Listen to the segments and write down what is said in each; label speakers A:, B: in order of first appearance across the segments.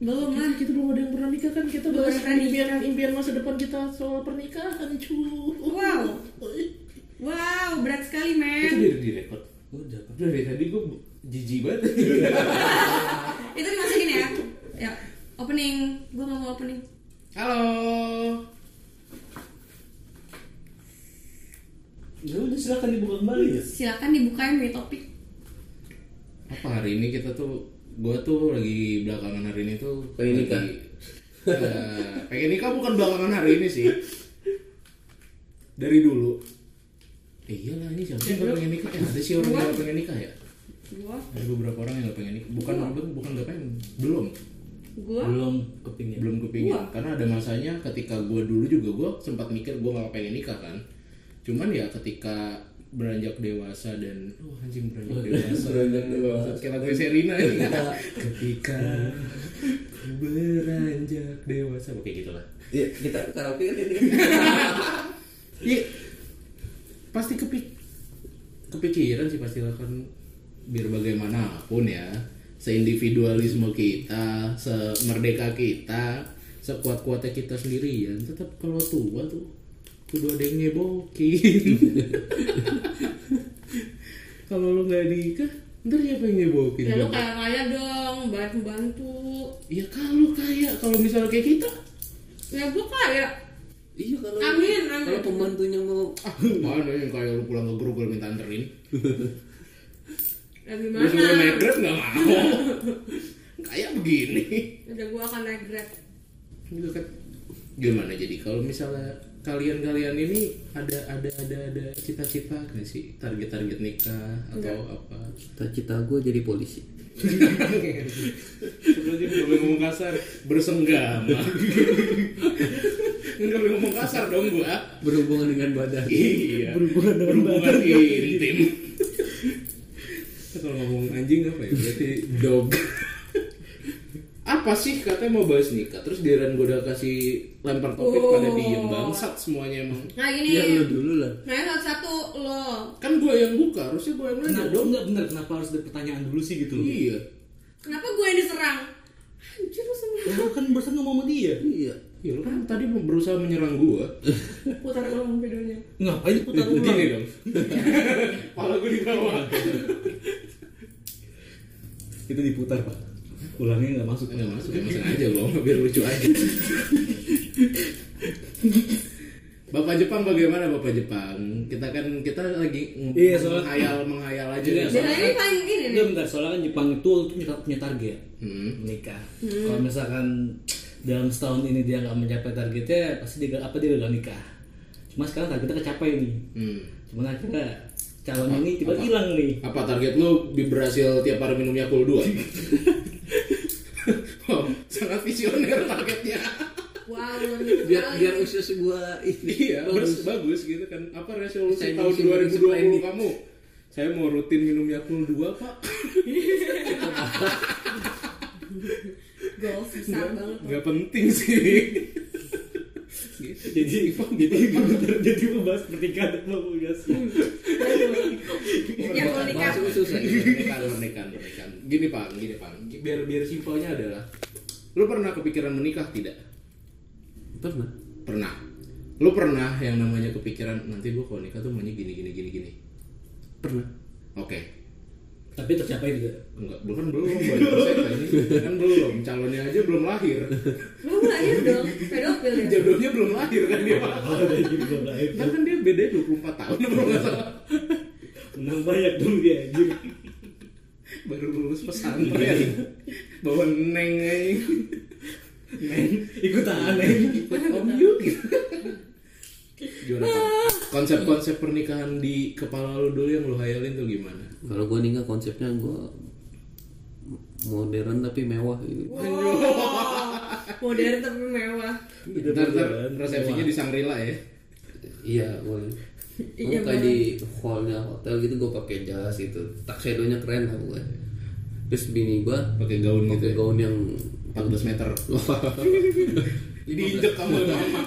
A: belum kan kita belum ada yang pernah nikah kan kita
B: Belum
A: bahas
B: pernah nikah.
A: impian impian masa depan kita soal pernikahan cu
B: Wow. Wow, berat sekali,
C: Itu
B: men.
C: biar direkod.
D: Udah Pak.
C: Oh, Dari tadi gue jijik banget.
B: Itu dimasukin ya. Ya, opening. Gua nggak mau opening.
A: halo
C: Ya udah silakan dibuka kembali ya.
B: Silakan dibukain dari topik.
C: Apa hari ini kita tuh gue tuh lagi belakangan hari ini tuh lagi-
D: Pengen nikah.
C: Eh, pengen nikah bukan belakangan hari ini sih. Dari dulu. Eh, iyalah ini siapa sih yang gak pengen nikah? Eh, ada sih orang yang gak pengen nikah ya?
B: Gua,
C: Ada beberapa orang yang gak pengen nikah. Bukan belum, bukan gak pengen. Belum.
B: gua,
D: Belum kepingin.
C: belum kepingin
D: Iya.
B: Wah.
C: karena ada masanya ketika gue dulu juga gue sempat mikir gue gak pengen nikah kan cuman ya ketika beranjak dewasa dan oh anjing beranjak dewasa
D: Beranjak dewasa. Iya.
C: kita gue Serina ini ketika ku beranjak dewasa oke gitulah
D: Iya, kita karaoke kan ini.
C: iya pasti kepik kepikiran sih pasti lah kan biar bagaimanapun ya seindividualisme kita semerdeka kita sekuat kuatnya kita sendirian tetap kalau tua tuh kudu ada yang nyebokin kalau lu nggak nikah ntar siapa yang nyebokin
B: ya lu
C: Coba.
B: kayak kaya dong, bantu-bantu.
C: ya kalau kaya kalau misalnya kayak kita
B: Ya gua kaya.
D: Iya kalau
B: Amin, amin.
D: Kalau pembantunya mau
C: ah mana yang kaya lu pulang ke Grogol minta anterin
B: Ya gimana?
C: Gue suruh naik grab nggak mau Kayak begini
B: Udah gua akan naik grab.
C: Gitu kan. Gimana jadi kalau misalnya kalian-kalian ini ada ada ada ada cita-cita nggak sih target-target nikah atau apa?
D: cita-cita gue jadi polisi.
C: Sebenarnya nggak boleh ngomong kasar, bersenggama. Nggak boleh ngomong kasar dong ah. gua.
D: Berhubungan dengan badan.
C: Iya. Berhubungan dengan berhubungan
E: iya.
C: intim. Kalau ngomong anjing apa ya? Berarti dog. apa sih katanya mau bahas nikah terus diran gue udah kasih lempar topik pada
B: Oh.
C: diem bangsat semuanya emang
B: Nah ini,
D: Ya lo dulu lah.
B: nah ini satu-satu lo.
C: kan gue yang buka harusnya gue yang nanya
E: Kenapa
C: dong
E: enggak bener kenapa harus ada pertanyaan dulu sih gitu loh?
C: iya
B: Kenapa gua yang diserang? Anjir lu semua.
E: Ya, lu kan barusan ngomong sama dia.
D: Iya.
C: ya lu kan tadi mau berusaha menyerang gue
B: Putar ulang videonya.
E: Ngapain putar ulang?
C: begini dong kepala gue di bawah
E: Itu diputar, Pak. Ulangnya enggak masuk.
C: Enggak masuk, emang sengaja loh, biar lucu aja. Bapak Jepang bagaimana Bapak Jepang? Kita kan kita lagi ng-
E: Iya, soalnya-
C: menghayal menghayal aja
E: Iya,
C: nih.
B: Dan ini paling ini nih.
E: Enggak bentar, soalnya kan Jepang itu waktu itu punya, punya target
C: Hmm.
E: menikah. Kalau misalkan dalam setahun ini dia nggak mencapai targetnya, pasti dia apa dia gagal nikah. Cuma sekarang targetnya kecapai nih.
C: Hmm.
E: Cuman akhirnya calon ini tiba hilang nih.
C: Apa target lu bi- berhasil tiap hari minum Yakult 2? oh, sangat visioner targetnya.
B: Wow, lu nih.
D: Biar biar usia sebuah ini.
C: iya, bagus. bagus gitu kan. Apa resolusi
D: Saya
C: tahun
D: musim-
C: 2020
D: musim
C: kamu? Saya mau rutin minum Yakult 2, Pak.
B: goals besar banget.
C: Nggak penting sih. gitu.
E: Jadi jadi bentar, jadi membahas pernikahan dan sih.
B: Ya kalau nikah.
D: Langsung susah.
C: pernikahan pernikahan pernikahan gini pak gini pak biar biar simpelnya adalah lu pernah kepikiran menikah tidak
D: Pernah.
C: pernah lu pernah yang namanya kepikiran nanti gua kalau nikah tuh maunya gini gini gini gini
D: Pernah.
C: oke
E: Tapi tercapai tidak?
C: enggak bukan belum baru persen kan ini. kan belum calonnya aja belum lahir
B: Lu lahir dong, pedofil ya.
C: jodohnya belum lahir kan dia pak
E: Kalau kayak gitu belum lahir.
C: Nah, kan dia beda 24 tahun kalau nggak salah
E: Menang banyak dong dia anjir.
C: baru lulus pesantren bawa neng aja. neng
E: Ikutan aneh.
C: Om Yud gitu. Gimana Pak? konsep-konsep pernikahan di kepala lu dulu yang lu hayalin tuh gimana?
D: Kalau gue nikah konsepnya gue modern tapi mewah gitu.
B: Wow. Modern tapi mewah.
C: Ntar, ntar resepsinya di Sangrila ya.
D: Iya boleh. Gua
B: Iya, boleh.
D: kayak di hallnya hotel gitu gue pakai jas itu. Tuxedo-nya keren lah gue. Terus bini gue
C: Pakai gaun gitu.
D: pakai
C: Ya.
D: gaun yang
C: 14 meter. jadi injek kamu mama.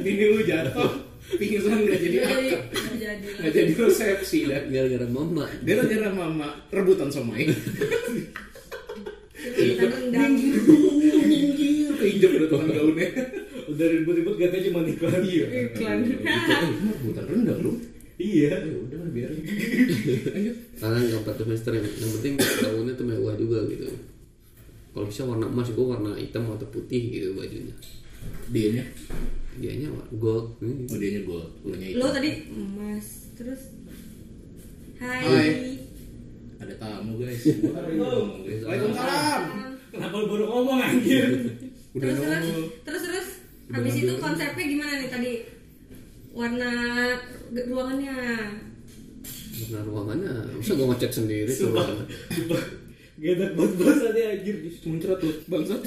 C: Bini lu jatuh, pingsan gak
B: Jadi
C: jadi akad.
B: Iya, jadi.
C: Gak jadi resepsi dah.
D: gara-gara mama.
C: Gara-gara mama rebutan somai.
B: Kita nendang.
C: diinjak udah tukang gaunnya.
E: Udah ribut-ribut katanya cuma iklan. Iya.
B: Iklan.
C: Itu eh, ini rebutan rendah lu.
E: Iya.
C: Ya udah lah, biarin.
D: Tangan nggak pakai semester yang, yang penting daunnya tuh mewah juga gitu. Kalau bisa warna emas, gue warna hitam atau putih gitu bajunya.
C: Dianya,
D: Dianya warna gold. Hmm.
C: oh dianya gold, ulunya itu.
B: Lo tadi emas terus. Hai.
C: Hai. Ada tamu guys. Gua kan ngomong, guys. Ah.
E: Waalaikumsalam. Kenapa lu baru ngomong anjir?
C: Udah
B: terus, terus
C: nongol.
B: terus terus
C: Udah
B: habis
C: ngambil.
B: itu konsepnya gimana nih tadi? Warna ge- ruangannya.
D: Warna ruangannya, masa gue ngecek sendiri tuh
E: Sumpah.
D: ruangannya.
E: Sumpah. Gedek buat bosannya anjir.
C: Muncrat lu, bangsat.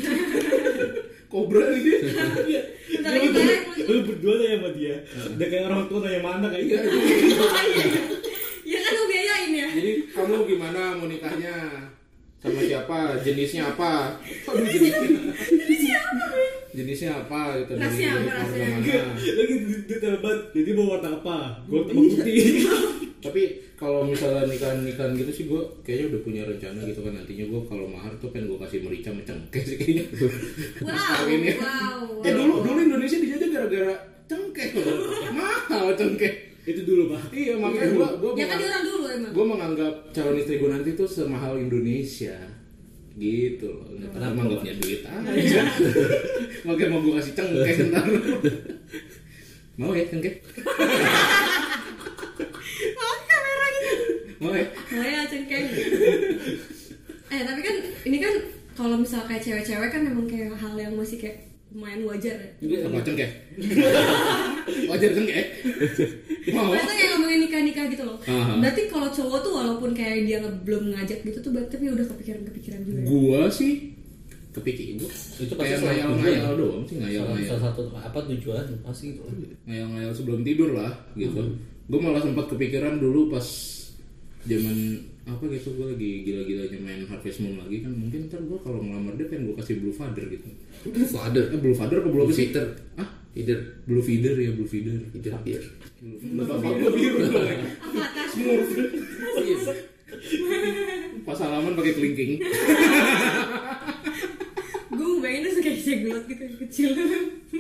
C: Kobra ini dia.
E: Iya.
B: Bentar
E: Lu
B: lagi
E: berdua-
B: balik.
E: Lu berdua nanya sama dia. Udah kayak orang tua nanya sama anak
C: Iya.
E: kayak gitu.
C: iya.
B: ya kan lu biayain ya.
C: Jadi kamu gimana mau nikahnya? Sama siapa? Jenisnya apa? Aduh, jenisnya. jenisnya apa gitu dari
B: Rasnya
C: dari
B: apa,
C: keluarga
B: rasnya?
C: mana?
E: Lagi di- detail banget. Jadi bawa warna apa? Gold sama putih.
C: tapi kalau misalnya nikahan nikahan gitu sih gue kayaknya udah punya rencana gitu kan nantinya gue kalau mahar tuh pengen gue kasih merica sama cengkeh sih kayaknya Terus
B: Wow,
C: kawinnya.
B: wow,
C: ya
B: wow.
C: dulu dulu Indonesia dijajah gara-gara cengkeh loh mahal cengkeh
E: Itu dulu, Pak.
C: iya makanya gue gue
B: Ya kan dia orang dulu emang.
C: gue menganggap calon istri gue nanti tuh semahal Indonesia gitu loh nggak tahu emang gak punya duit aja makanya mau gue kasih cengkeh ntar mau ya cengkeh
B: Oh, kamera gitu.
C: mau ya
B: Boleh ya cengkeng. eh tapi kan ini kan kalau misal kayak cewek-cewek kan memang kayak hal yang masih kayak lumayan wajar ya.
C: Apa cengkeh? Wajar cengkeh? Mau?
B: Maksudnya kayak ngomongin nikah-nikah gitu loh.
C: Oh. Aha.
B: Berarti kalau cowok tuh walaupun kayak dia nge- belum ngajak gitu tuh berarti tapi udah kepikiran-kepikiran juga. ya?
C: Gua sih kepikiran gua.
E: Itu pasti
C: Kayak
E: salah satu
C: ngayal-ngayal
E: tujuan.
C: doang sih ngayal-ngayal.
E: Salah satu apa tujuan pasti gitu.
C: Ngayal-ngayal sebelum tidur lah gitu. Gua malah sempat kepikiran dulu pas zaman apa gitu gua lagi gila-gilanya main Harvest Moon lagi kan mungkin ntar gua kalau ngelamar dia pengen gua kasih Blue Father gitu.
D: Itu father,
C: Eh Blue Father ke Blue apa sih?
D: Feeder.
C: Hah?
D: Feeder,
C: Blue Feeder ya Blue Feeder.
D: feeder beer.
C: Blue Feeder.
B: Apa tas?
C: Pas salaman pakai kelingking.
B: Gue ngebayangin tuh kayak jeglot gitu yang kecil.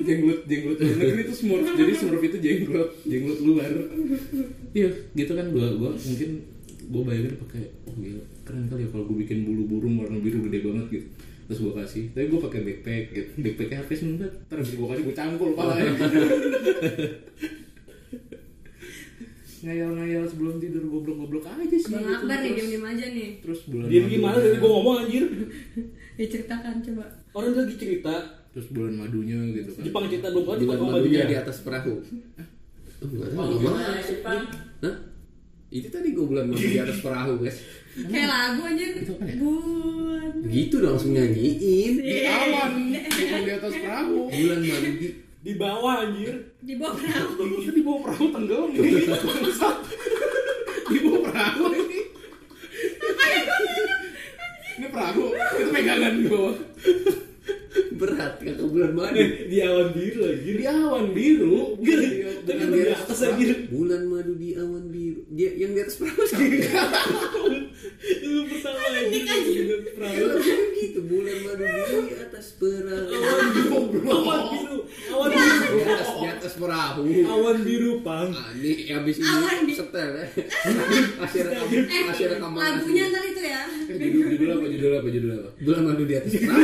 C: jenglot jenglot luar negeri kan itu smurf jadi smurf itu jenglot jenglot luar iya gitu kan gua gua mungkin gua bayangin pakai oh gila keren kali ya kalau gua bikin bulu burung warna biru gede banget gitu terus gua kasih tapi gua pakai backpack gitu backpacknya habis enggak ntar habis gua kasih gua cangkul pala ya ngayal-ngayal sebelum tidur goblok-goblok aja sih
B: Bang
C: gitu.
B: Akbar nih
C: terus,
B: diam-diam aja nih.
C: terus bulan
E: Dia
C: Madu-
E: gimana dari gua ngomong anjir.
B: Ya ceritakan coba.
E: Orang lagi cerita
C: terus bulan madunya gitu kan
E: Jepang cerita belum kelar
D: Bukan
E: Jepang sama
D: madunya
E: dia.
D: di atas perahu. Oh, enggak tahu.
A: Oh,
D: Bang.
A: gimana Jepang?
D: Hah? Itu tadi gue bilang madu di atas perahu guys.
B: Kayak lagu anjir.
C: apa ya?
B: Bulan.
D: Gitu dong langsung nyanyiin.
C: di awan bukan di atas perahu
D: Bulan madu di
E: Di bawah anjir.
B: Di bawah perahu.
C: Ini di bawah perahu tenggelam ini. Bangsat. di bawah perahu ini. Ini perahu, itu pegangan di bawah.
D: berat nggak ke bulan madu.
E: Eh, di awan biru anjir.
C: Di awan biru.
E: Tapi
D: Bulan
E: kan di atas anjir.
D: Bulan madu di awan biru. Dia yang di atas perahu sih.
E: Lu pertama anjir. Lu perahu.
D: gitu bulan madu di atas perahu.
E: Awan biru. Awan biru.
D: Di atas di atas perahu.
E: Awan biru pang.
D: Ah, ini habis
B: Awan
D: ini
B: di-
D: setel ya. Hasil rekam, hasil rekaman.
B: Eh, Lagunya ntar itu ya.
C: Eh, judul, judul apa? Judul apa? Judul apa?
D: Bulan madu di atas perahu.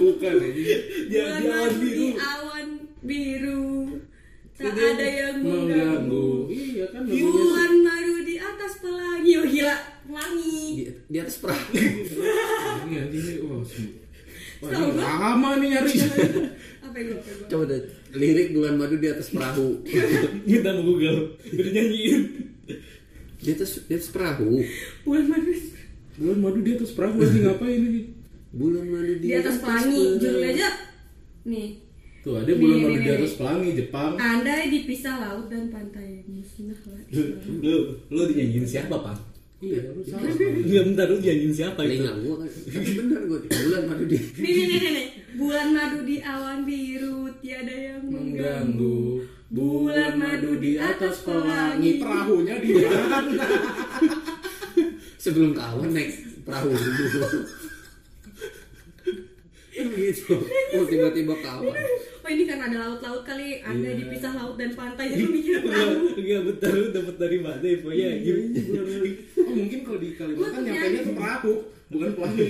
C: Bukan ya. jadi
E: Di,
B: Bulan
E: di awan
B: madu di
E: biru.
B: awan biru. Tak
E: Tidak
B: ada yang
C: Mengganggu.
B: mengganggu.
C: Iya kan lagunya.
B: Bulan baru di atas pelangi. Oh gila, pelangi.
D: Di, Iya, di atas perahu.
C: Ini oh, anjing nih. Wah, semu- Wah,
B: Tahu
C: ini
B: gak?
C: lama nih nyarinya.
B: Apa yang gue pegang?
D: Coba deh lirik bulan madu di atas perahu.
E: Kita mau Google. Udah nyanyiin.
D: Di atas di atas perahu.
B: Bulan baru
C: Bulan madu di atas perahu lagi ngapain ini?
D: Bulan madu di,
B: di atas pelangi. Judulnya aja. Nih.
C: Tuh ada bulan
B: Nih,
C: madu
B: nih,
C: di
B: nih.
C: atas pelangi Jepang.
B: Andai dipisah laut dan pantai musnahlah.
E: Lu, lu, lu dinyanyiin siapa pang?
C: Iya, lu salah.
E: Iya bentar lu dinyanyiin siapa itu?
D: Telinga gua kan. Tapi bener gua bulan madu di.
B: Nih nih nih nih, nih. Bulan madu di awan biru tiada yang mengganggu.
C: mengganggu
B: Bulan madu di atas pelangi.
C: perahunya di mana
D: Sebelum kawan naik perahu dulu. Kan begitu. gitu oh tiba-tiba kawan
B: Oh ini karena ada laut-laut kali, anda dipisah laut dan pantai jadi
E: Iya.
B: mikir tahu.
E: Enggak bentar lu dapat dari mana Ya, infonya? Gimana sih?
C: Oh mungkin kalau di Kalimantan
B: Maksudnya-
C: nyampainya ke perahu, bukan pelangi.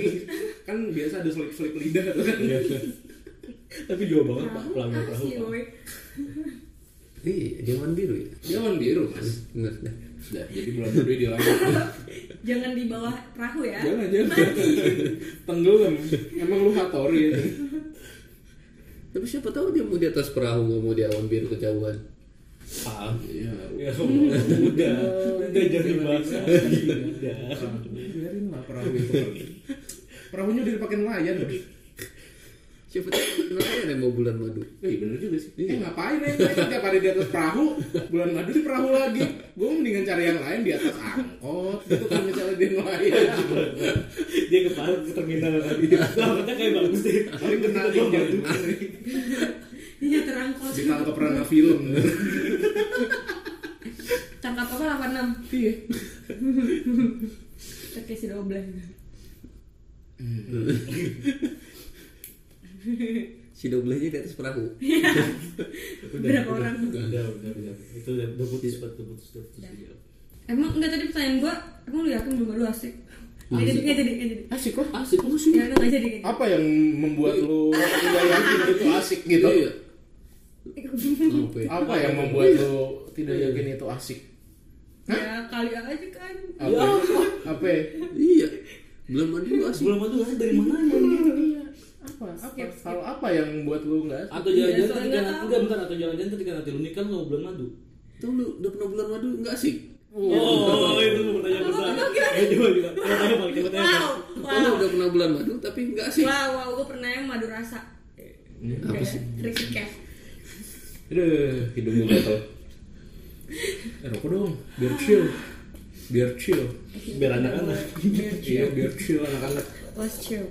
C: kan biasa ada selip-selip lidah tuh kan.
E: Iya. Tapi jauh banget Pak
B: Perahu
E: pelanggan
B: ah
E: perahu.
B: sih,
E: Pak.
B: Boy.
D: iya diaman biru ya
C: Dia warna biru kan.
D: bener dah
C: Sudah, jadi bulan madu dia lagi.
B: Jangan di bawah perahu ya.
C: Jangan jangan. Tenggelam. Emang lu hatori ya.
D: tapi siapa tahu dia mau di atas perahu nggak mau di awan biru kejauhan
E: Paham.
C: Iya.
E: Ya udah, udah jadi bahasa. Iya. Udah.
C: Perahu. Biarin lah perahu itu. pergi. Perahunya udah dipakai nelayan.
D: siapa tahu kenapa ada yang mau bulan madu
C: Eh bener juga sih. Eh
E: Iya.
C: ngapain ya? Mereka tiap hari di atas perahu, bulan madu di perahu lagi. Gue mendingan cari yang lain di atas angkot. Itu kan misalnya dia nelayan.
E: Dia kepala ke terminal tadi. Lautnya kayak bagus deh.
C: Paling kenal yang jatuh
B: Iya terangkot.
C: Ditangkap Rana film
B: Tangkap apa 86?
C: Iya
B: Oke si doble.
D: si doblenya di atas perahu
B: Berapa orang?
E: Udah, udah, udah. Itu udah udah putus, Pak. udah putus, udah putus. Iya.
B: Emang enggak tadi pertanyaan gua, emang lu yakin belum lu asik? Nggak jadi, nggak jadi, nggak jadi.
C: Asik kok
D: asik kok sih
B: Ya udah nggak jadi. nggak jadi.
C: Apa yang membuat lu tidak yakin itu asik gitu
D: iya apa ya?
C: Apa yang membuat lu tidak yakin itu asik
B: Ya kali aja kan.
C: Apa Ya Apa
D: iya bulan madu lu asik
E: Sebelum itu asik dari mana anjing?
C: apa apa hal apa yang membuat lu nggak asik?
E: Atau
B: Iya,
E: jangan-jangan
B: soalnya nggak
E: ketika
B: tahu.
E: enggak bentar atau jangan-jangan ketika nanti lu nikah lu nggak bulan madu.
D: tahu lu udah pernah bulan madu nggak asik
E: Oh, itu pertanyaan
B: Apa,
E: besar.
B: apa, gimana?
E: Ayo, coba kita. Ayo, Bang, kita tanya.
B: Wow,
D: Tahu lu
B: wow,
D: udah pernah bulan madu tapi nggak asik
B: wow, wow. Gua pernah yang madu rasa.
D: apa sih
B: Ricky Cash.
C: Aduh hidung gue gatel Eh rokok dong biar chill biar chill
E: Biar anak-anak.
C: Iya biar chill anak-anak
B: Was true.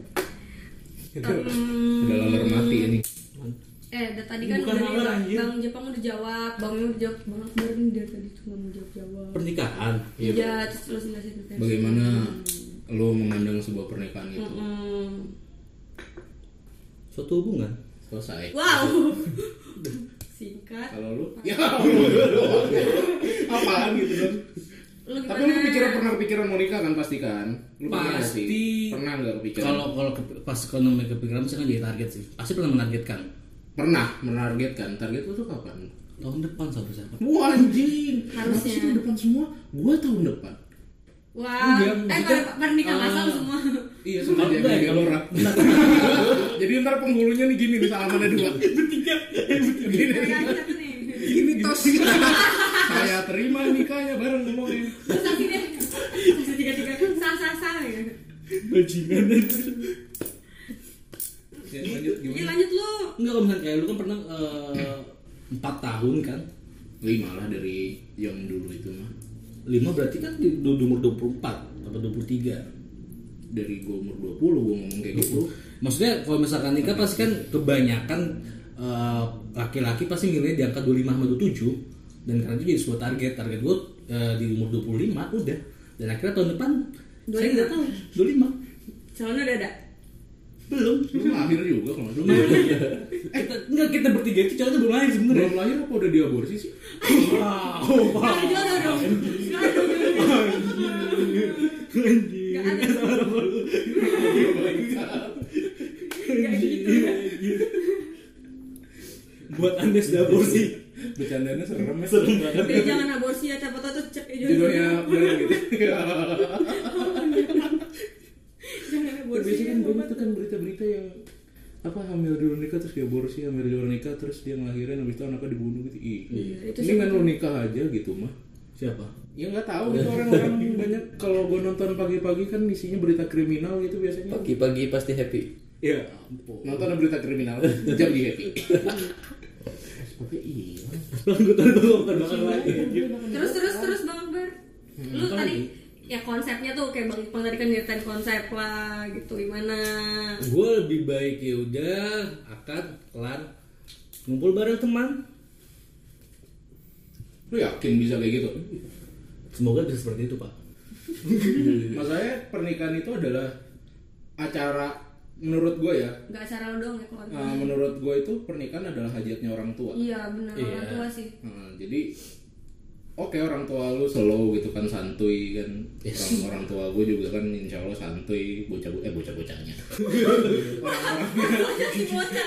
E: Gitu.
C: Udah laler mati ini
B: Eh, dari tadi kan
E: Bukan
B: udah
E: nalar,
B: nih,
E: anjir.
B: Bang Jepang udah jawab, Bang Yul udah jawab, Bang Akbar nih dari tadi tuh nggak mau jawab jawab.
E: Pernikahan.
C: Iya.
B: Iya, terus terus jelasin ke Ferdi.
C: Bagaimana lu memandang sebuah pernikahan itu
B: Mm-mm.
E: Suatu hubungan.
C: Selesai
B: Wow. Singkat.
C: Kalau lu? Ya Allah. Apaan gitu dong?
B: Lu gimana?
C: Tapi lu kepikiran pernah kepikiran mau nikah kan pasti kan? Lu pernah nggak sih?
E: Pasti.
C: Pernah nggak kepikiran?
E: Kalau kalau ke- pas kalau namanya kepikiran misalkan jadi target sih. Pasti pernah menargetkan.
C: pernah menargetkan target lu tuh kapan?
E: Tahun depan sampai siapa?
C: Wah anjing.
B: Harusnya.
C: Apa sih tahun depan semua. Gua tahun depan.
B: Wow.
E: Enggak,
B: Eh,
E: maksudnya,
B: kalau pernikahan
E: eh,
B: masal semua.
C: Iya sebenarnya
E: Enggak, ya,
C: jadi
E: kalau-
C: Lora. Jadi ntar penghulunya nih gini nih salamannya dua.
E: Bertiga.
C: Gini.
B: Pertanyaan satu nih.
C: Gini tos. Saya terima nikahnya bareng ngomongin.
B: Sasi deh. Sasi tiga tiga. Sah sah sah. ya.
E: Bajingan
C: Ya, lanjut
B: Ya
C: gimana?
B: lanjut lu.
E: Enggak kalau misalkan kayak lu kan pernah eh, empat tahun kan.
C: Lima lah dari yang dulu itu mah.
E: Lima berarti kan di, di umur 24 atau 23.
C: Dari gua umur 20 gua ngomong kayak gitu.
E: Maksudnya kalau misalkan nikah pasti kan kebanyakan eh, laki-laki pasti milih di angka 25 sama 27 dan karena itu jadi sebuah target. Target gue di umur 25 udah. Dan akhirnya tahun depan saya
B: 25.
E: nggak tahu 25
B: Calonnya udah ada.
E: belum
C: Lu lahir juga kalau nggak
E: belum
C: salah.
E: lahir eh enggak kita bertiga itu cowoknya belum lahir sebenarnya
C: Belum lahir apa udah diaborsi sih?
E: wow
B: Sekarang jodoh dong. Sekarang jodoh.
E: anjing
B: Nggak ada.
E: Sama orang
B: ya,
E: baru.
B: Nggak gitu.
E: Anjing. buat andes dapur sih
C: Bercandanya serem ya.
E: serem banget
B: Tapi jangan aborsi ya, siapa tahu tuh cek aja.
C: Jodohnya bener gitu.
B: Jangan aborsi.
C: Biasanya
B: ya,
C: kan banyak
B: Bapak.
C: tuh kan berita-berita yang apa hamil dulu nikah terus diaborsi, hamil di luar nikah terus dia ngelahirin habis itu anaknya dibunuh gitu. Ih.
B: Iya, itu
C: Ini kan lu nikah aja gitu mah.
E: siapa
C: Ya nggak tahu gitu orang-orang banyak kalau gue nonton pagi-pagi kan isinya berita kriminal gitu biasanya.
D: pagi-pagi pasti happy
E: ya ampun
C: Nonton berita kriminal jam di happy. Tapi iya.
E: gue tahu gue bukan bakal lagi
B: Terus terus terus Bang Akbar. Lu tadi ya konsepnya tuh kayak Bang Ipang tadi kan nyeritain konsep lah gitu gimana.
E: gue lebih baik ya udah akan kelar ngumpul bareng teman
C: Lu yakin bisa kayak gitu?
E: semoga bisa seperti itu pak
C: Maksudnya pernikahan itu adalah acara menurut gue ya
B: nggak acara lo doang ya keluarga
C: eh, menurut gue itu pernikahan adalah hajatnya orang tua
B: iya benar orang
E: Iya.
B: tua sih
C: Hmm, jadi oke orang tua lu slow gitu kan santuy kan orang, orang tua gue juga kan insya Allah santuy bocah eh bocah bocahnya
B: si bocah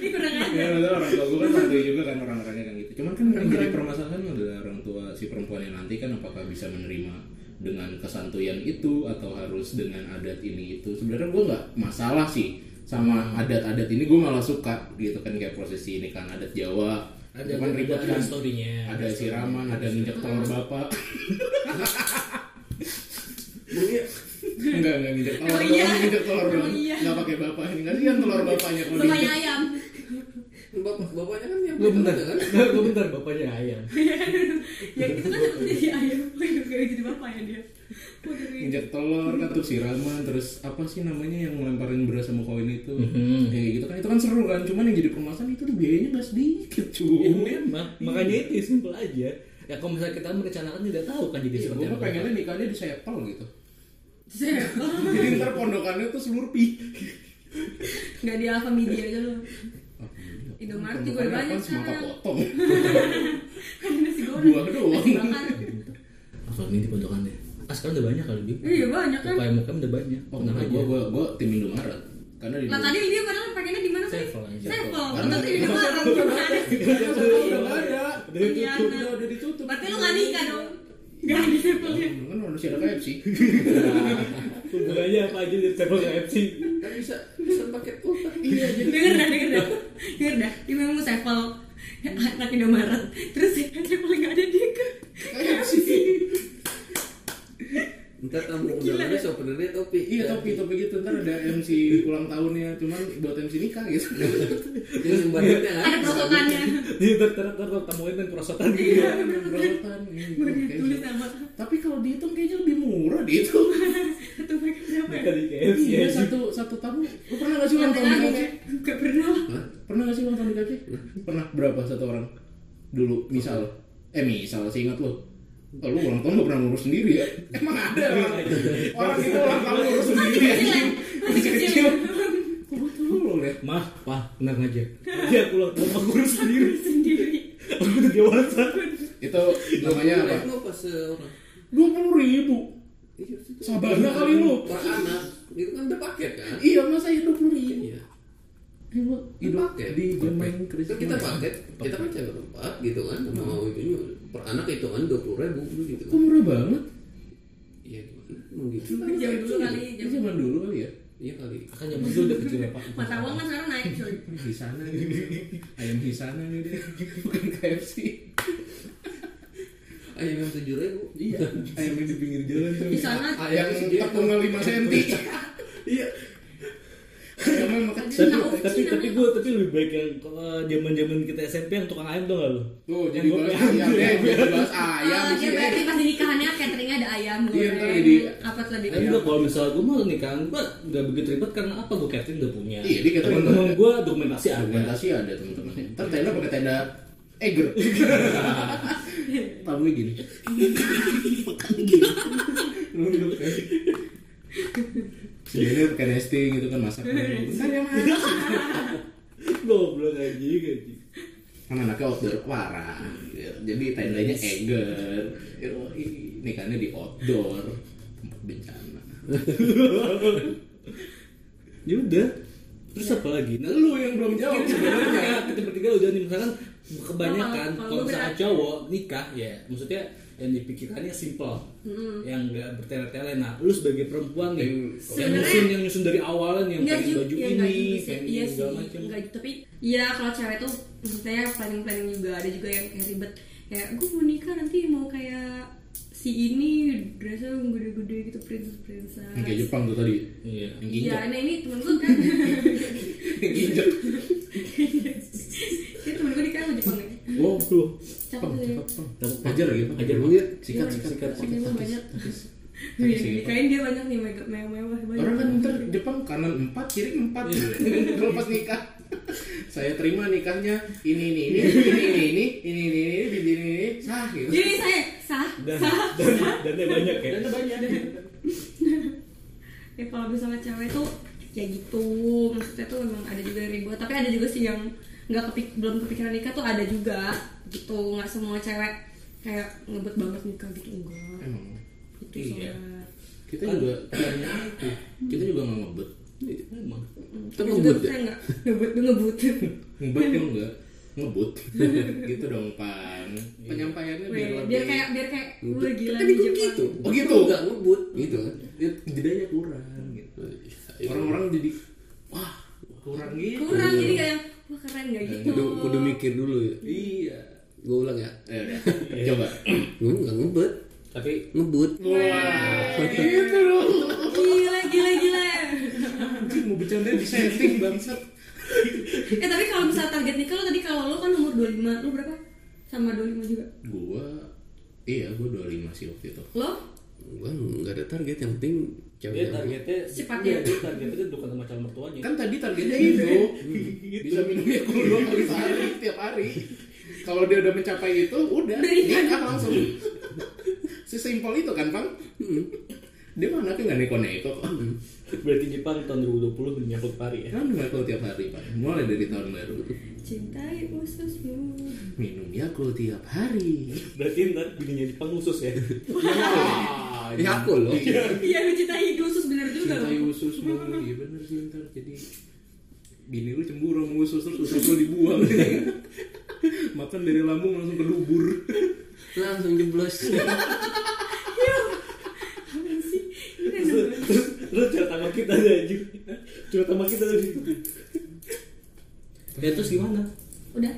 B: ini kurang aja
C: ya maksudnya orang tua gue kan santuy juga kan orang-orangnya kan gitu cuman kan yang jadi permasalahan adalah orang tua si perempuan yang nanti kan apakah bisa menerima dengan kesantuyan itu atau harus dengan adat ini itu sebenarnya gue nggak masalah sih
E: Hmm.
C: sama adat-adat ini gue malah suka gitu kan kayak prosesi nikahan adat Jawa
E: Ada-
C: Cuman
E: ada-
C: ribet
E: ada
C: kan.
E: story-nya.
C: ada
E: Ada
C: siraman ada nginjek telur bapak
E: Iya.
C: Enggak, enggak nginjek telur
B: Emang
C: doang,
B: iya?
C: nginjek telur
B: Emang
C: doang
B: iya?
C: Enggak pakai bapak, ini kasihan telur bapaknya kalau
B: bapaknya
C: di-
B: ayam
D: Bapak, bapaknya kan yang
E: Gue
D: punya
E: bentar,
D: juga kan?
E: gue bentar bapaknya ayam.
B: ya itu kan harus jadi ayam kayak jadi bapaknya dia Waduh, ini.
C: Injak telur, katup siraman, terus apa sih namanya yang ngelemparin beras sama koin itu
E: Mhm.
C: Ya gitu kan, itu kan seru kan, cuman yang jadi permasalahan itu tuh biayanya gak sedikit
E: Ya
C: cuy
E: memang, makanya itu simple aja. Ya kalau misalnya kita merencanakan tidak tahu kan jadi
C: Gue
E: seperti
C: mah
E: apa.
C: pengennya nikahnya di sepel gitu
B: Saya-
C: Jadi ntar pondokannya tuh selurpi
B: nggak di Alfa Media aja lu Indomaret juga
C: Pondokannya
B: banyak
C: apaan? Semangka
B: sekarang.
C: potong
B: ada nasi goreng
C: Buah doang.
B: nasi bakar.
E: Apa ini di pondokannya? Gitu. Ah sekarang udah banyak kali di.
B: iya banyak kan
E: Upaya mukam udah banyak.
C: Oh
E: Tenang
C: enggak,
E: aja.
C: gue, gue, gue tim Indomaret Karena di
B: lah tadi dia padahal pengennya di mana tadi?
E: Sevel aja.
B: Sevel.
C: Karena-
B: Berarti di Indomaret gimana sih?
C: Iya, udah nggak ada Udah
B: Iya,
C: ditutup,
B: nah.
C: udah udah ditutup
B: Berarti lu nggak nikah dong? Nggak di Sevel ya?
C: Kan manusia ada KFC
E: Hubungannya apa aja di table KFC?
D: Kan bisa, bisa paket utang.
C: Iya jadi
B: Denger dah, denger dah Denger dah, dia memang mau Sevel Anak Indomaret Terus Sevel nggak ada dia ke
C: KFC
D: Ntar tamu undangannya sebenarnya topi.
C: Iya topi topi gitu ntar ada MC ulang tahunnya cuman buat MC nikah gitu.
D: Yang sembarannya kan?
B: Ada protokannya
E: Di tertarik tertarik tamuin dan perosotan gitu.
C: Iya berotan ini.
B: Baru
C: oke.
B: ditulis sama
C: iya, gitu. Tapi kalau dihitung kayaknya lebih murah dihitung.
B: Satu paket berapa ya?
E: Nikah di KFC
C: Iya
E: aja.
C: satu satu tamu. Lu pernah nggak sih ulang tahun di
B: Lagi-lagi
C: KFC?
B: ya? Nggak pernah
C: Pernah nggak sih ulang tahun di KFC? Pernah berapa satu orang? Dulu misal eh misal sih ingat lo. Oh, lu ulang tahun gak pernah ngurus sendiri ya? Emang ada orang orang itu ulang tahun ngurus sendiri ya?
B: Masih kecil
C: Kok gue tahu lo ya?
E: Mah, pah, tenang aja. Dia
C: Iya,
E: pulang ke rumah kurus sendiri.
B: Sendiri
E: Aku udah dewasa.
C: Itu namanya apa?
D: Itu apa seorang?
C: Dua puluh ribu.
D: Iya, itu.
C: Sabarnya kali lu.
D: Per anak. Itu kan udah paket kan?
C: Iya masa itu dua puluh ribu.
D: Iya.
C: Ibu hidup
D: Dipakai.
C: di zaman
D: Itu
C: Kristus.
D: kita paket, kita kan cewek empat gitu kan, mau itunya per anak hitungan dua puluh ribu gitu
C: Kok
D: kan?
C: murah banget?
D: Iya gimana? Mau gitu?
C: Iya.
B: Jauh dulu kali
C: Itu
B: jauh.
C: zaman dulu kali ya.
D: Iya kali.
E: Kan zaman dulu udah kecil ya pak.
B: Mata uang kan sekarang naik coy
C: Hisana gitu. Ayam hisana gitu. Bukan KFC.
D: Ayam Ah, yang tujuh ribu.
C: Iya. Ayam yang di pinggir jalan tuh.
B: Di sana
C: Ayam tepungnya lima senti.
D: Iya.
C: Ayam yang makan
E: tapi
B: Nah,
E: tapi
B: Uci
E: tapi
B: namanya.
E: gue tapi lebih baik yang kalau zaman zaman kita SMP yang tukang ayam tuh gak lo?
C: Tuh Oh, jadi
E: Yang gua
C: bahas
E: pengen
C: ayam
E: ambil.
C: deh. Jadi bahas ayam
B: Ah,
C: sih.
B: dia berarti pas di nikahannya cateringnya ada ayam
C: Iya,
B: goreng,
C: ntar jadi-
B: apa tuh di
E: Tapi gue kan kalau misal gue mau nikahan gue gak begitu ribet karena apa gue catering udah punya.
C: Iya, dia catering
E: Teman-teman
C: udah ada.
E: gue dokumentasi ada.
C: Dokumentasi ada teman-teman. Ntar tenda pakai tenda Eger. Tamu gini. Nunduk ya. Jadi pakai nesting gitu kan masak. Bentar ya mas.
E: Goblok aja gitu.
C: Kan anaknya outdoor parah. Jadi tendanya Eger. Nikahnya di outdoor. Tempat bencana.
E: Ya udah. Terus
B: Iya.
E: apa lagi? Nah lu yang belum jawab sebenarnya. Kita bertiga udah nih misalkan kebanyakan
B: Nah, Kalau- kalau
E: kalau
B: gua
E: misalnya
B: berat.
E: cowok nikah ya maksudnya yang dipikirkannya simple yang gak bertele-tele nah lu sebagai perempuan nih
D: Yang-
E: yang
B: Sebenarnya-
E: nyusun yang nyusun dari awal nih, yang
B: Nggak
E: pakai
B: juga-
E: baju
B: ya, nggak
E: ini
B: juga sih.
E: pakai
B: iya sih
E: segala macam
B: nggak gitu. tapi iya kalau cewek tuh maksudnya planning planning juga ada juga yang kayak ribet kayak gue mau nikah nanti mau kayak si ini dressnya yang gede-gede gitu princess princess
C: Yang Kayak Jepang tuh tadi.
E: iya
C: Yang
B: Iya,
C: ginjal.
B: nah ini temen gue kan
C: Yang ginjal.
B: Ini temen gue nikah sama Jepang ya
C: Oh,
E: wow lu
B: Cakep tuh ya
C: Ajar lagi Pak.
E: Iya. Ajar, Pak.
C: Iya.
E: Sikat,
B: Iya,
E: sikat,
B: ini emang banyak
C: Tapi
B: Iya,
C: sih,
B: nikahin dia banyak nih, mega- mewah-mewah banyak
C: Orang kan ntar Jepang kanan empat, kiri empat. Kalau pas nikah, saya terima nikahnya ini ini ini ini ini ini ini ini ini ini ini ini ini sah gitu.
B: Jadi Iya, saya, sah,
E: dan
B: sah
E: dan dan banyak ya
B: Ya kalau misalnya cewek tuh ya gitu maksudnya tuh memang ada juga yang ribut tapi ada juga sih yang nggak kepik belum kepikiran nikah tuh ada juga gitu nggak semua cewek kayak ngebet banget nikah gitu enggak
C: Emang
B: gitu
E: Iya.
B: soalnya.
C: kita juga kita juga nggak ngebet.
E: Emang.
D: Kita
B: Terus
D: ngebut
B: juga
D: ya?
B: saya nggak ngebut tuh ngebut
C: Ngebet yang enggak Iya ngebut. gitu dong pan. Iya. Penyampaiannya biar
B: Weh,
C: lebih.
B: biar kayak biar kayak
D: Ngebut.
B: gue gila
D: Tadi
B: di
D: gua
B: Jepang
D: gitu.
C: Oh gitu?
D: Gua nggak ngebut gitu kan.
C: Ya, jedanya kurang. Gitu. Orang-orang jadi wah kurang gitu.
B: kurang jadi kayak wah keren nggak gitu
D: Iya. Kudu, kudu mikir dulu ya.
C: Iya.
D: Gue ulang ya.
C: Eh, udah. Coba.
D: Gue nggak ngebut,
E: Tapi
D: ngebut.
C: Wah, gitu dong.
B: gila gila gila
C: Anjing mau bercanda di setting bangsat.
B: eh tapi kalau misal target nikah lo tadi kalau lo kan umur 25 lo berapa sama 25 juga
C: Gua iya gua 25 sih waktu itu.
B: lo
D: Gue nggak ada target yang penting cewek
E: dia
D: yang
E: targetnya
B: Cepat
E: iya,
B: ya.
E: dia targetnya itu bukan sama calon mertuanya.
C: Kan tadi targetnya itu bisa minum ya, Yakult dua kali sehari tiap hari. Kalau dia udah mencapai itu, udah nikah langsung. Sesimpel itu kan, Bang? Dia mana tuh nggak neko-neko kok.
E: Berarti Jepang tahun 2020 dunia klub pari ya.
C: Kan Yakult tiap hari, Pak. Mulai dari tahun baru.
B: cintai ususmu
C: Minum Yakult tiap hari.
E: Berarti ntar bininya Jepang khusus ya.
C: Wah,
D: Ya aku loh.
B: iya mencintai usus bener juga
C: cintai
B: lo
C: usus lu iya bener sih ntar jadi bini lu cemburu sama usus terus usus lu dibuang makan dari lambung langsung ke dubur
D: Langsung jeblos.
B: Apaan sih Ini kan namanya.
E: terus terus cara tambah kita aja anjir. Cara tambah kita aja gitu. Ya terus gimana?
B: udah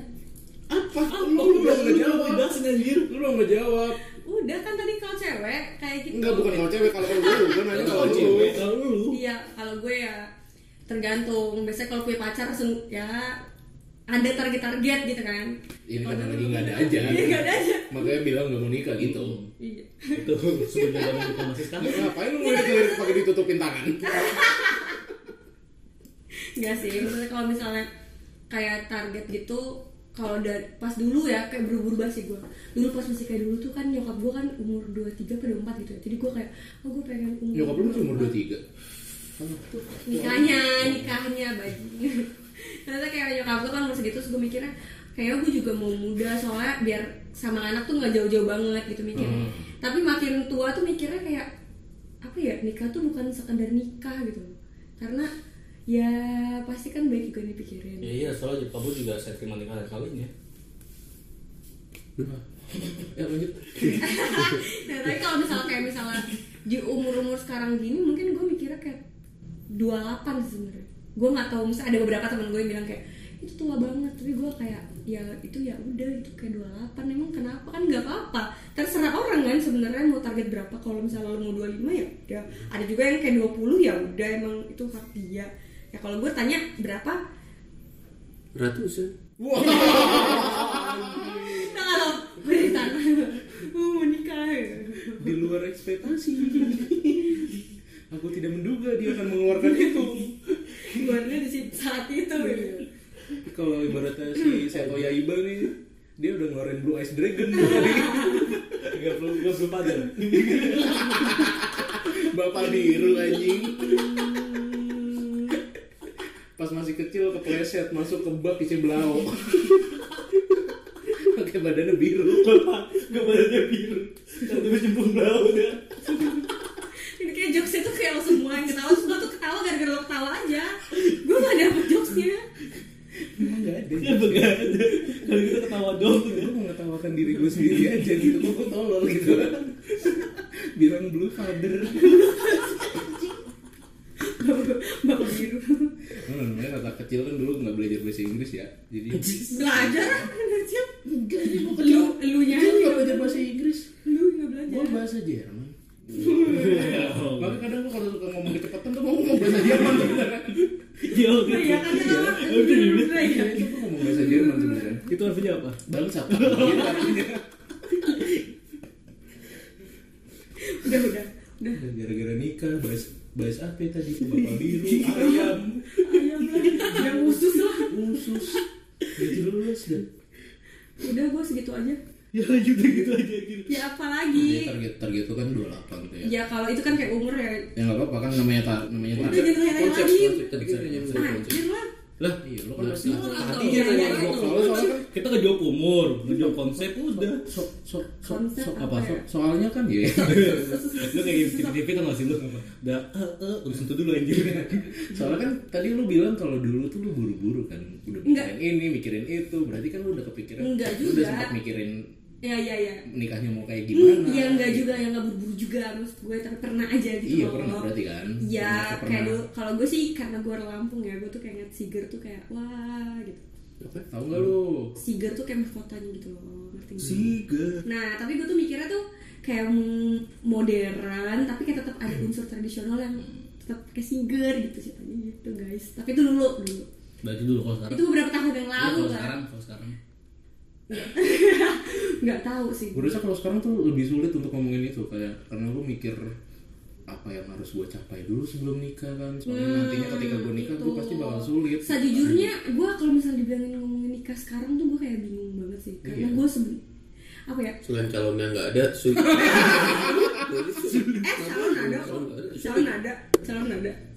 C: apa lu
E: Oh,
C: lu belum
E: jawab
C: ngejawab
E: dibahasin anjir.
C: lu belum ngejawab
B: udah kan tadi kalau cewek kayak gitu
C: enggak bukan kalau cewek kalau lu gue nanya kalau lu
E: cewek kalau lu.
B: Iya, kalau gue ya tergantung. Biasanya kalau punya pacar langsung ya ada target-target gitu kan.
C: ini
B: Kalau
C: karena
B: gue-
C: lagi Iya, nggak ada aja kan?
B: Iya, nggak ada aja.
C: makanya bilang nggak mau nikah gitu
B: Iya.
E: Itu sebenarnya zaman kita masih sekarang.
C: Nggak, ngapain lu mulai dikelirik pakai ditutupin tangan
B: Enggak sih, maksudnya kalau misalnya kayak target gitu kalau dari pas dulu ya kayak berubah-ubah sih gue dulu pas masih kayak dulu tuh kan nyokap gue kan umur 23 pada 4 gitu ya jadi gue kayak oh gue pengen umur
C: nyokap lu masih umur 23
B: nikahnya nikahnya bajunya ternyata kayak nyokap gue kan umur segitu terus gue mikirnya kayaknya gue juga mau muda soalnya biar sama anak tuh nggak jauh-jauh banget gitu mikirnya tapi makin tua tuh mikirnya kayak apa ya nikah tuh bukan sekedar nikah gitu karena ya pasti kan baik juga dipikirin
E: Ya iya, soalnya Jepang juga saya terima nikah dan kawin ya.
C: ya lanjut
B: nah, tapi kalau misalnya kayak misalnya di umur umur sekarang gini mungkin gue mikirnya kayak 28 sih sebenarnya gue nggak tahu misalnya ada beberapa teman gue yang bilang kayak itu tua banget tapi gue kayak ya itu ya udah itu kayak 28 emang kenapa kan nggak apa-apa terserah orang kan sebenarnya mau target berapa kalau misalnya lo mau 25 ya udah ada juga yang kayak 20 ya udah emang itu hak dia ya kalau gue tanya berapa
D: Ratusan.
B: kita nggak tahu berita mau nikah
C: di luar ekspektasi aku tidak menduga dia akan mengeluarkan itu
B: keluarnya di situ- saat itu gitu.
C: kalau ibaratnya si Seto Yaiba nih dia udah ngeluarin Blue Ice Dragon dua kali.
E: Enggak perlu enggak perlu pagar.
C: bapak biru anjing pas masih kecil kepleset masuk ke bak isi belau pakai badannya biru
E: Bapak, gambarnya biru. Satu berjemput blau ya.
B: Ini kayak jokesnya tuh kayak lo semua yang ketawa Terus gue tuh ketawa gara-gara lo ketawa aja Gue gak dapet jokesnya
C: emang nggak ada
E: Ya begitu. Kalau kita ketawa dong
C: gue mengetawakan diri gue sendiri aja gitu kok gue tolol gitu bilang blue father
B: Bapak biru
C: hmm, namanya kata kecil kan dulu nggak belajar bahasa Inggris ya jadi
B: Belajar kan belajar
C: enggak jadi mau
B: Lu, lu nya
C: kecil nggak belajar bahasa Inggris
B: Lu gak belajar
C: gue bahasa Jerman
E: Iya,
C: Makanya kadang gue kalau suka ngomong kecepatan tuh mau ngomong bahasa Jerman sebenarnya.
E: Ya oke.
B: Iya kan ya Bener-bener
C: Iya,
B: ya
C: itu gue ngomong bahasa Jerman sebenarnya.
E: Itu artinya apa?
C: Bangsa. Iya, artinya.
B: Udah udah Udah
C: Gara-gara nikah, bahas bahas apa ya tadi bapak biru, ayam,
B: Ayam lah Yang usus lah
C: usus, gaji lulus Iya, dah.
B: Udah gue segitu aja
E: ya lanjut gitu aja
B: ya
E: gitu
C: Jadi
B: apalagi
C: Iya, target target itu kan 28 tuh ya.
B: ya kalau itu kan kayak umur ya
C: Ya nggak apa-apa kan namanya tar namanya
B: udah
C: target.
B: jangan nanya
D: Konsep,
B: lagi
D: konsep. Tadi kita udah nyampe dari konsep.
B: anjir lah
E: lah
C: Iya, lu kan pasti
B: Lu atau- Iya.
E: tadi dia nanya
B: Lu
E: gua
B: atau-
E: kalau soalnya kan kita ngejawab umur ngejawab konsep udah
C: so, so, so,
B: Konsep
C: so-
B: apa
C: apa
B: ya?
C: so, soalnya kan ya.
E: lu kayak gitu TV kan masih lu udah eh eh urus itu dulu anjir
C: soalnya kan tadi lu bilang kalau dulu tuh lu buru-buru kan udah
B: Enggak.
C: mikirin ini mikirin itu berarti kan lu udah kepikiran
B: Enggak juga.
C: lu udah sempat mikirin
B: ya ya ya
C: nikahnya mau kayak
B: Hmm,
C: gimana
B: ya enggak juga yang enggak berburu juga maksud gue tapi pernah aja gitu
C: Iya,
B: loh.
C: pernah berarti kan?
B: iya
C: Pernah, aku
B: kayak
C: pernah.
B: dulu kalau gue sih karena gue orang Lampung ya gue tuh kayak ngeliat Siger tuh kayak wah gitu
C: Apa? tahu nggak lu
B: Siger tuh kayak mahkotanya gitu loh ngerti nggak?
E: tiga
B: nah tapi gue tuh mikirnya tuh kayak mm, modern tapi kayak tetap ada unsur tradisional yang tetap pakai Siger gitu ceritanya gitu guys tapi itu dulu dulu
E: berarti dulu kalau sekarang
B: itu beberapa tahun yang
E: Iya,
B: lalu
E: kalau
B: kan
E: sekarang kalau sekarang
B: nggak tahu sih
C: gue rasa kalau sekarang tuh lebih sulit untuk ngomongin itu kayak karena lu mikir apa yang harus gue capai dulu sebelum nikah kan soalnya nantinya ketika gue nikah gue
B: Hmm, Gitu.
C: pasti bakal sulit
B: Sejujurnya gue kalau misalnya dibilangin ngomongin nikah sekarang tuh gue kayak bingung banget sih karena
C: Iya.
B: gue seben apa ya
D: Selain calonnya nggak ada, sulit.
B: eh calon ada kok. calon ada calon ada